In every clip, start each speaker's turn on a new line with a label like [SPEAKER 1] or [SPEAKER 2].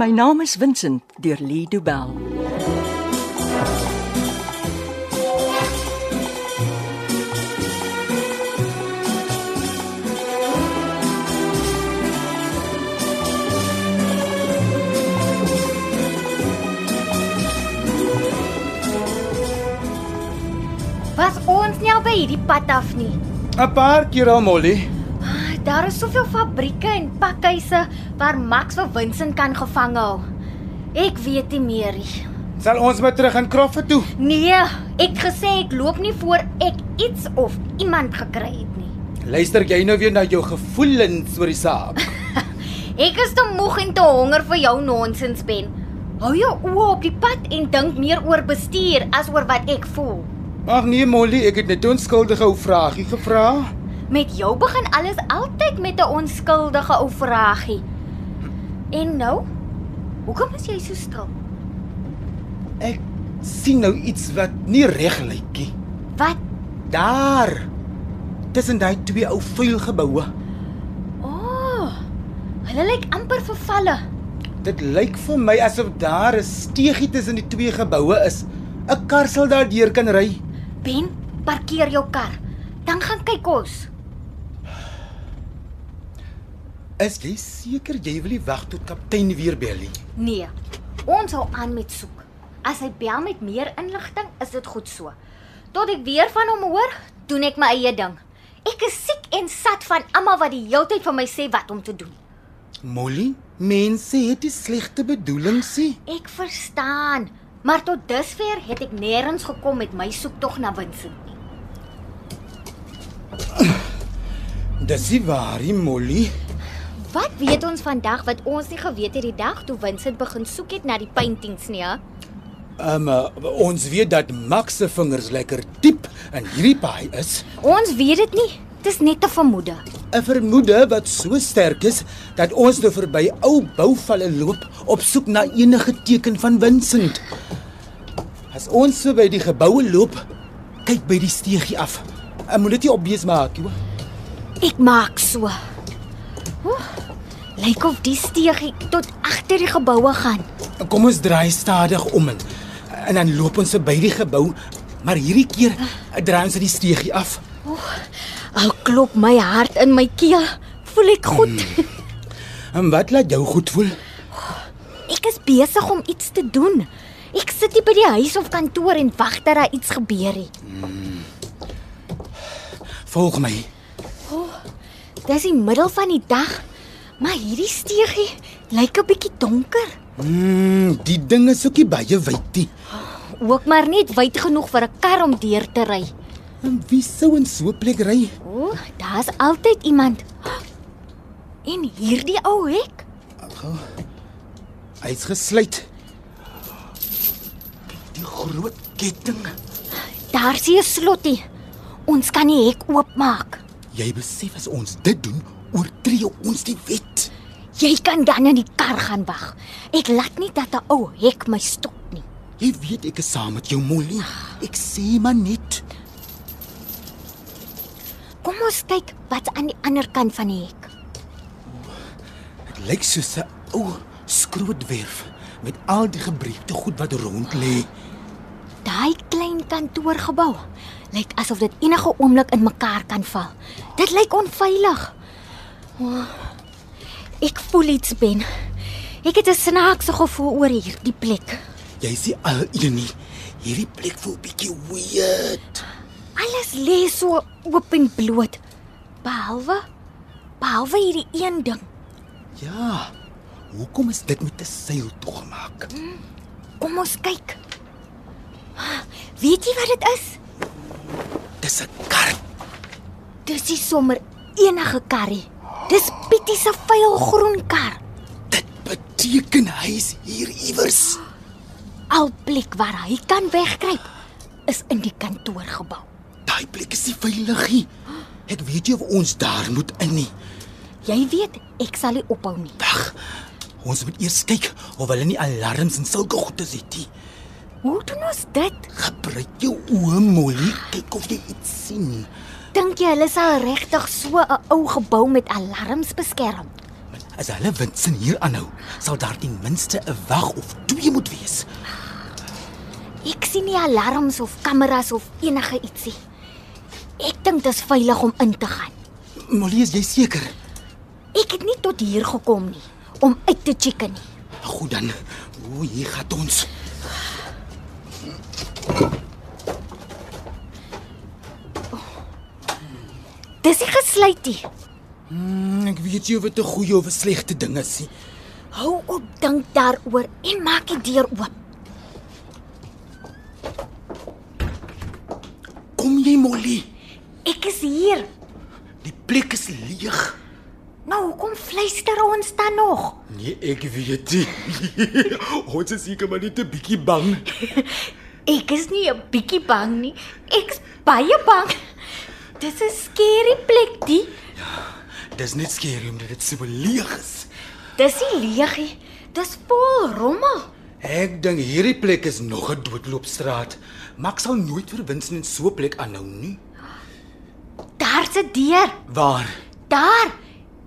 [SPEAKER 1] My naam is Vincent deur Lee Du Bell.
[SPEAKER 2] Was ons nie al by hierdie pad af nie.
[SPEAKER 3] 'n Paar keer al Molly.
[SPEAKER 2] Ah, Daar is soveel fabrieke en pakhuise waar Max vir Vincent kan gevang hou. Ek weet nie meer nie.
[SPEAKER 3] Sal ons maar terug in Crawford toe.
[SPEAKER 2] Nee, ek gesê ek loop nie voor ek iets of iemand gekry het nie.
[SPEAKER 3] Luister jy nou weer na jou gevoelens oor die saak?
[SPEAKER 2] Ek is te moeg en te honger vir jou nonsens ben. Hou jou oë op die pad en dink meer oor bestuur as oor wat ek voel.
[SPEAKER 3] Ag nee Molly, ek het net 'n onskuldige ou vragie gevra.
[SPEAKER 2] Met jou begin alles altyd met 'n onskuldige ou vragie. En nou? Hoekom is jy so stil?
[SPEAKER 3] Ek sien nou iets wat nie reg lyk nie.
[SPEAKER 2] Wat?
[SPEAKER 3] Daar. Tussen daai twee ou vuil geboue.
[SPEAKER 2] O. Oh, hulle lyk amper vervalle.
[SPEAKER 3] Dit lyk vir my asof daar 'n steegie tussen die twee geboue is. 'n Kar sal daardeur kan ry.
[SPEAKER 2] Ben, parkeer jou kar. Dan gaan kyk ons.
[SPEAKER 3] Is jy seker jy wil nie wag tot kaptein weer bel nie?
[SPEAKER 2] Nee. Ons hou aan met soek. As hy bel met meer inligting, is dit goed so. Tot ek weer van hom hoor, doen ek my eie ding. Ek is siek en sat van almal wat die heeltyd vir my sê wat om te doen.
[SPEAKER 3] Molly, mense het nie slegte bedoelings nie.
[SPEAKER 2] Ek verstaan, maar tot dusver het ek nêrens gekom met my soektog na Vincent nie.
[SPEAKER 3] Dis nie waar nie, Molly.
[SPEAKER 2] Wat weet ons vandag wat ons nie geweet het die dag toe Vincent begin soek het na die paintings nie, hè?
[SPEAKER 3] Um, uh, ons weet dat Max se vingers lekker diep in hierdie paai is.
[SPEAKER 2] Ons weet dit nie. Dis net 'n vermoede.
[SPEAKER 3] 'n Vermoede wat so sterk is dat ons nou verby ou bouvalle loop op soek na enige teken van Vincent. As ons so by die geboue loop, kyk by die steegie af. Ek moet dit nie opbees maak, joh.
[SPEAKER 2] Ek maak so. Oeh, Lyk of die steegie tot agter die geboue gaan.
[SPEAKER 3] Kom ons draai stadig om en, en dan loop ons by die gebou, maar hierdie keer eh, draai ons uit die steegie af.
[SPEAKER 2] Al klop my hart in my keel. Voel ek goed.
[SPEAKER 3] En wat laat jou goed voel?
[SPEAKER 2] Ek is besig om iets te doen. Ek sit hier by die huis of kantoor en wag dat daar iets gebeur nie.
[SPEAKER 3] Volg my.
[SPEAKER 2] Dis die middel van die dag, maar hierdie steegie lyk 'n bietjie donker.
[SPEAKER 3] Mm, die ding is ookie baie wyd nie.
[SPEAKER 2] Ook maar net wyd genoeg vir 'n kar om deur te ry.
[SPEAKER 3] En wie sou in so 'n plek ry?
[SPEAKER 2] O, oh, daar's altyd iemand. En hierdie ou hek?
[SPEAKER 3] Hy's gesluit. Kyk die groot ketting.
[SPEAKER 2] Daar sien 'n slotie. Ons kan die hek oopmaak.
[SPEAKER 3] Jy besef as ons dit doen, oortree ons die wet.
[SPEAKER 2] Jy kan dan in die kar gaan wag. Ek laat nie dat 'n ou hek my stop nie.
[SPEAKER 3] Jy weet ek is saam met jou, Molly. Ek sê maar net.
[SPEAKER 2] Kom ons kyk wat's aan die ander kant van die hek.
[SPEAKER 3] Dit lyk soos 'n ou skrootwerf met al die gebreekte goed wat rond lê.
[SPEAKER 2] Daai klein kantoorgebou lyk asof dit enige oomblik in mekaar kan val. Dit lyk onveilig. O, Ek voel iets ben. Ek het 'n snaakse gevoel oor hierdie plek.
[SPEAKER 3] Jy sien al hierdie hierdie plek voel bietjie weird.
[SPEAKER 2] Alles lê so oop en bloot behalwe behalwe hierdie een ding.
[SPEAKER 3] Ja. Hoekom is dit met 'n seil toegemaak?
[SPEAKER 2] Kom ons kyk. Weet jy wat dit is?
[SPEAKER 3] Dis 'n kar.
[SPEAKER 2] Dis nie sommer enige karrie. Dis Pietie se vuil groen kar.
[SPEAKER 3] Dit beteken hy's hier iewers.
[SPEAKER 2] Al plek waar hy kan wegkruip is in die kantoorgebou.
[SPEAKER 3] Daai plek is nie veilig nie. Ek weet nie of ons daar moet in nie.
[SPEAKER 2] Jy weet, ek sal nie ophou nie.
[SPEAKER 3] Wag. Ons moet eers kyk of hulle nie alarms en sulke goedes het nie.
[SPEAKER 2] Hoe doen ons dit?
[SPEAKER 3] Gebruik jou oë, Molly, kyk of jy iets sien.
[SPEAKER 2] Dink jy hulle sal regtig so 'n ou gebou met alarms beskerm?
[SPEAKER 3] Met As hulle Winsin hier aanhou, sal daar ten minste 'n wag of twee moet wees.
[SPEAKER 2] Ek sien nie alarms of kameras of enige ietsie. Ek dink dit is veilig om in te gaan.
[SPEAKER 3] Molly, is jy seker?
[SPEAKER 2] Ek het nie tot hier gekom nie om uit te check nie.
[SPEAKER 3] Goed dan. O, hier gaan ons.
[SPEAKER 2] Dis nie gesluit nie.
[SPEAKER 3] Mm, Ek weet jy wat 'n goeie of 'n slegte ding is. nie.
[SPEAKER 2] Hou op dink daaroor en maak die deur oop.
[SPEAKER 3] Kom jy, Molly?
[SPEAKER 2] Ek is hier.
[SPEAKER 3] Die plek is leeg.
[SPEAKER 2] Nou, hoekom fluister ons dan nog?
[SPEAKER 3] Nee, ek weet nie. ons is seker maar net 'n bietjie bang.
[SPEAKER 2] Ek is nie 'n bietjie bang nie. Ek's baie bang. Dis 'n skerry plek, die.
[SPEAKER 3] Dis net skerry omdat dit so leeg is.
[SPEAKER 2] Dis nie leegie. Dis vol rommel.
[SPEAKER 3] Ek dink hierdie plek is nog 'n doodloopstraat. Max sal nooit vir Winsin in so 'n plek aanhou nie.
[SPEAKER 2] Daar's 'n deur.
[SPEAKER 3] Waar?
[SPEAKER 2] Daar.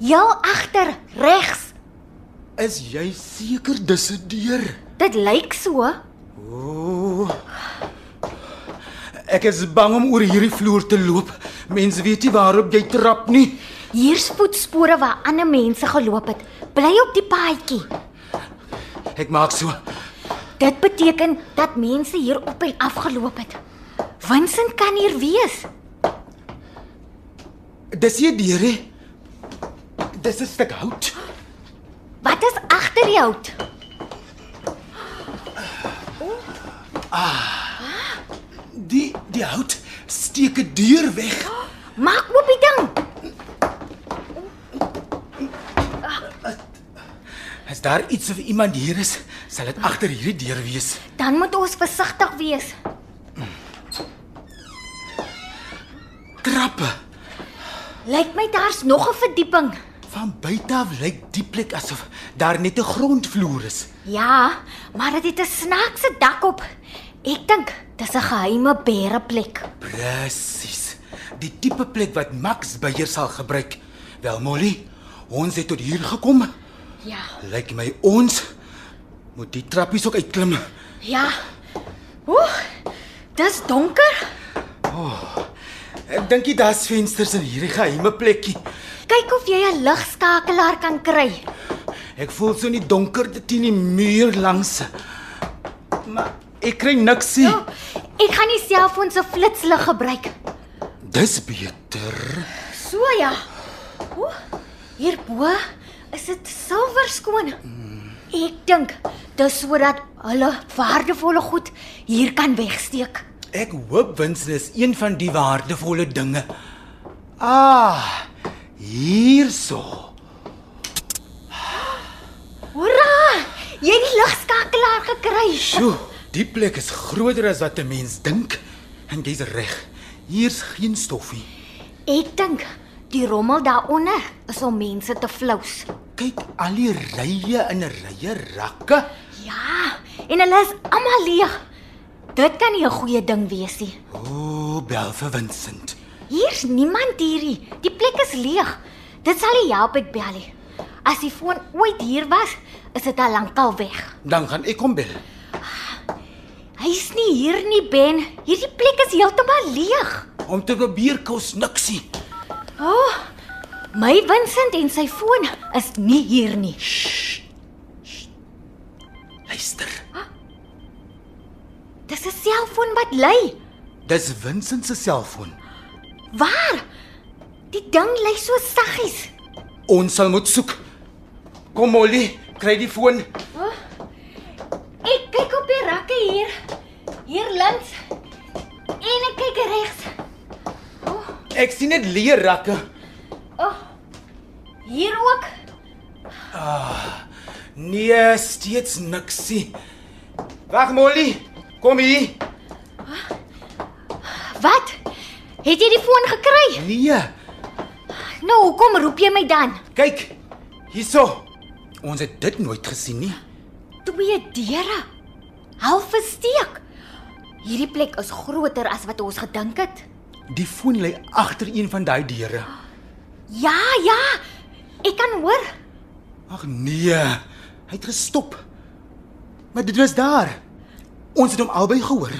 [SPEAKER 2] Heel agter, regs.
[SPEAKER 3] Is jy seker dis 'n deur?
[SPEAKER 2] Dit lyk so.
[SPEAKER 3] Ooh. Ek is bang om oor hierdie vloer te loop. Mense weet nie waarop jy trap nie.
[SPEAKER 2] Hier's voetspore waar ander mense geloop het. Bly op die paadjie.
[SPEAKER 3] Ek maak so.
[SPEAKER 2] Dit beteken dat mense hier op en af geloop het. Vincent kan hier wees.
[SPEAKER 3] Dis nie 'n deur nie. Dis 'n stuk hout.
[SPEAKER 2] Wat is agter die hout?
[SPEAKER 3] Die die hout steek 'n deur weg.
[SPEAKER 2] Maak oop die ding.
[SPEAKER 3] As daar iets of iemand hier is, sal dit agter hierdie deur wees.
[SPEAKER 2] Dan moet ons versigtig wees.
[SPEAKER 3] Trappe.
[SPEAKER 2] Lyk my daar's nog 'n verdieping.
[SPEAKER 3] Van buite af lyk die plek asof daar net 'n grondvloer is.
[SPEAKER 2] Ja, maar dit het 'n snaakse dak op. Ek dink dis 'n geheime bereplek.
[SPEAKER 3] Presies. Die tipe plek wat Max Beyer sal gebruik. Wel Molly, ons het tot hier gekom.
[SPEAKER 2] Ja.
[SPEAKER 3] Lyk my ons moet die trappies ook uitklim.
[SPEAKER 2] Ja. Oeh. Dis donker.
[SPEAKER 3] Ek dink nie daar's vensters in hierdie geheime plekkie.
[SPEAKER 2] Kyk of jy 'n ligskakelaar kan kry.
[SPEAKER 3] Ek voel so in die donker teen die muur langs. Maar ek kry niks nie.
[SPEAKER 2] Oh, ek gaan nie selfoon se flitslig gebruik.
[SPEAKER 3] Dis beter.
[SPEAKER 2] So ja. Oeh. Hierbo is dit silwer skoon. Ek dink dis sodat hulle waardevolle goed hier kan wegsteek.
[SPEAKER 3] Ek hoop Winston is een van die waardevolle dinge. Ah, hierso.
[SPEAKER 2] Hoera! Jy het die ligskakelaar gekry.
[SPEAKER 3] Sjoe, die plek is groter as wat 'n mens dink. En jy's reg. Hier's geen stoffie.
[SPEAKER 2] Ek dink die rommel daaronder is om mense te flous.
[SPEAKER 3] Kyk al die rye in 'n rye rakke.
[SPEAKER 2] Ja, en hulle is almal leeg. Dit kan nie 'n goeie ding wees nie.
[SPEAKER 3] O, bel vir Vincent.
[SPEAKER 2] Hier's niemand hierdie. Die plek is leeg. Dit sal nie help ek bel nie. As die foon ooit hier was, is dit al lankal weg.
[SPEAKER 3] Dan gaan ek hom bel.
[SPEAKER 2] Hy's nie hier nie, Ben. Hierdie plek is heeltemal leeg.
[SPEAKER 3] Om te probeer kos niksie.
[SPEAKER 2] O, oh, my Vincent en sy foon is nie hier nie.
[SPEAKER 3] Luister.
[SPEAKER 2] Dis 'n selfoon wat lui.
[SPEAKER 3] Dis Vincent se selfoon.
[SPEAKER 2] Waar? Die ding lui so saggies.
[SPEAKER 3] Ons sal moet soek. Kom Molly, kry die foon.
[SPEAKER 2] Ek kyk op die rakke hier. Hier links. En ek kyk regs.
[SPEAKER 3] Ek sien net leë rakke.
[SPEAKER 2] Oh, Hier ook.
[SPEAKER 3] Nee, steeds niksie. Wag Molly, kom hier.
[SPEAKER 2] Wat? Het jy die foon gekry?
[SPEAKER 3] Nee,
[SPEAKER 2] Nou, hoekom roep jy my dan?
[SPEAKER 3] kyk. Hierso. Ons het dit nooit gesien nie.
[SPEAKER 2] Twee deure. Half versteek. Hierdie plek is groter as wat ons gedink het.
[SPEAKER 3] Die foon lê agter een van daai deure.
[SPEAKER 2] Ja, ja. Ek kan hoor.
[SPEAKER 3] Ag nee. Hy het gestop. Maar dit was daar. Ons het hom albei gehoor.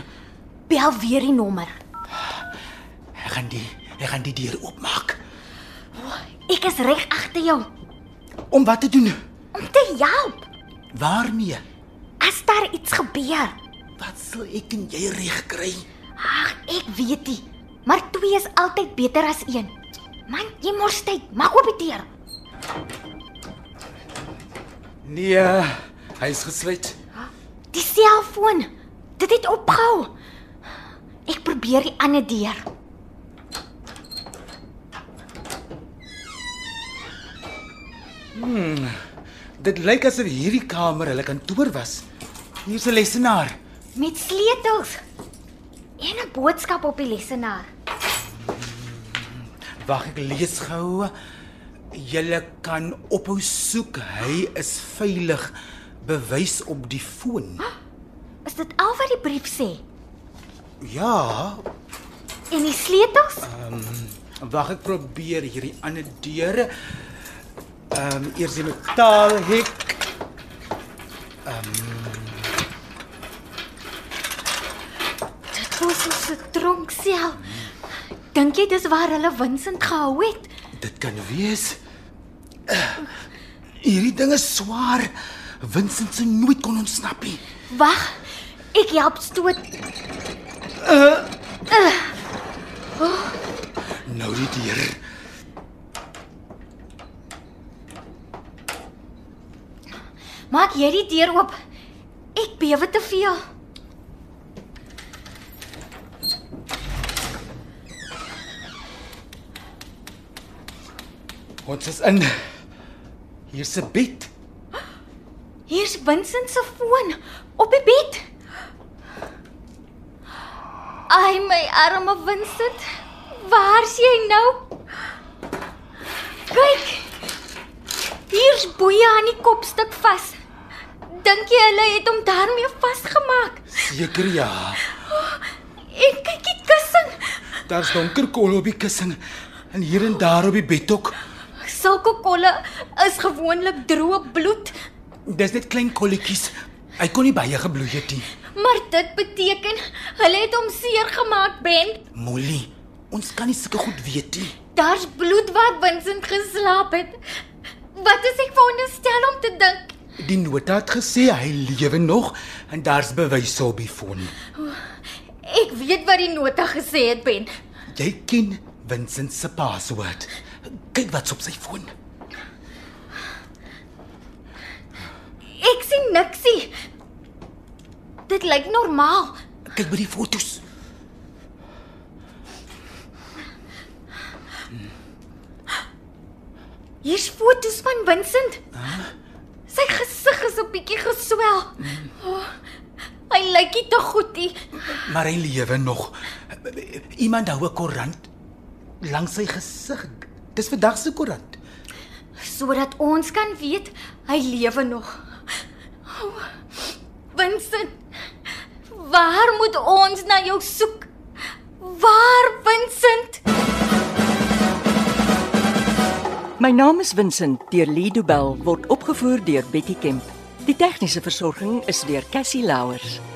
[SPEAKER 2] Bel weer die nommer.
[SPEAKER 3] Ek gaan die ek gaan die deur oopmaak.
[SPEAKER 2] Ek is reg agter jou
[SPEAKER 3] Om wat te doen?
[SPEAKER 2] om te help
[SPEAKER 3] Waarmee?
[SPEAKER 2] as daar iets gebeur.
[SPEAKER 3] Wat sal ek en jy reg kry?
[SPEAKER 2] Ag, ek weet dit. Maar twee is altyd beter as een. Man, jy mors tyd. Maak oop die deur.
[SPEAKER 3] Nee, hy is gesluit.
[SPEAKER 2] Die selfoon. Dit het opgehou. Ek probeer die ander deur.
[SPEAKER 3] Dit lyk asof hierdie kamer hulle kantoor was. Hier's 'n lesenaar.
[SPEAKER 2] Met sleutels. En 'n boodskap op die lesenaar.
[SPEAKER 3] Wag, ek lees gou. Julle kan ophou soek. Hy is veilig. Bewys op die foon.
[SPEAKER 2] Is dit al wat die brief sê?
[SPEAKER 3] Ja,
[SPEAKER 2] En die sleutels?
[SPEAKER 3] wag ek probeer hierdie ander deure. Ehm um, eers die metaalhek. Ehm
[SPEAKER 2] Dit voel soos 'n tronksel. Dink jy dis waar hulle Vincent gehou het?
[SPEAKER 3] dit kan wees. Eh, Hierdie ding is swaar. Vincent sou nooit kon ontsnap nie.
[SPEAKER 2] Wag, ek help stoot.
[SPEAKER 3] Nou die deur.
[SPEAKER 2] Maak jy die deur oop. Ek bewe te veel.
[SPEAKER 3] Ons is in. Hier's 'n bed.
[SPEAKER 2] Hier's Vincent se foon op die bed. Ai my arme Vincent, waar's jy nou? Kyk. Hier's boeie aan die kopstuk vas. Dink jy hulle het hom daarmee vasgemaak?
[SPEAKER 3] Seker ja.
[SPEAKER 2] En kyk die kussing.
[SPEAKER 3] Daar's donker kolle op die kussing en hier en daar op die bed ook.
[SPEAKER 2] Sulke kolle is gewoonlik droë bloed,
[SPEAKER 3] Dis net klein kolletjies. Hy kon nie baie gebloei het nie.
[SPEAKER 2] maar dit beteken hulle het hom seer gemaak, Ben.
[SPEAKER 3] Molly, ons kan nie sulke goed weet nie.
[SPEAKER 2] Daar's bloed waar Vincent geslaap het. Wat is ek veronderstel om te dink?
[SPEAKER 3] Die nota het gesê hy lewe nog en daar's bewyse op die foon.
[SPEAKER 2] Ek weet wat die nota gesê het, Ben.
[SPEAKER 3] Jy ken Vincent se paswoord. Kyk wat's op sy foon.
[SPEAKER 2] Ek sien niksie. Dit lyk normaal.
[SPEAKER 3] Kyk by die fotos.
[SPEAKER 2] Hier's foto's van Vincent. Sy gesig is 'n bietjie geswel. Oh, hy lyk nie te goed nie.
[SPEAKER 3] Maar hy lewe nog. Iemand hou 'n koerant langs sy gesig. Dis vandag se koerant.
[SPEAKER 2] Sodat ons kan weet hy lewe nog. Oh, Vincent, waar moet ons na jou soek? Waar, Vincent?
[SPEAKER 1] My naam is Vincent deur Lido Bell word opgevoer deur Betty Kemp. Die tegniese versorging is deur Cassie Louers.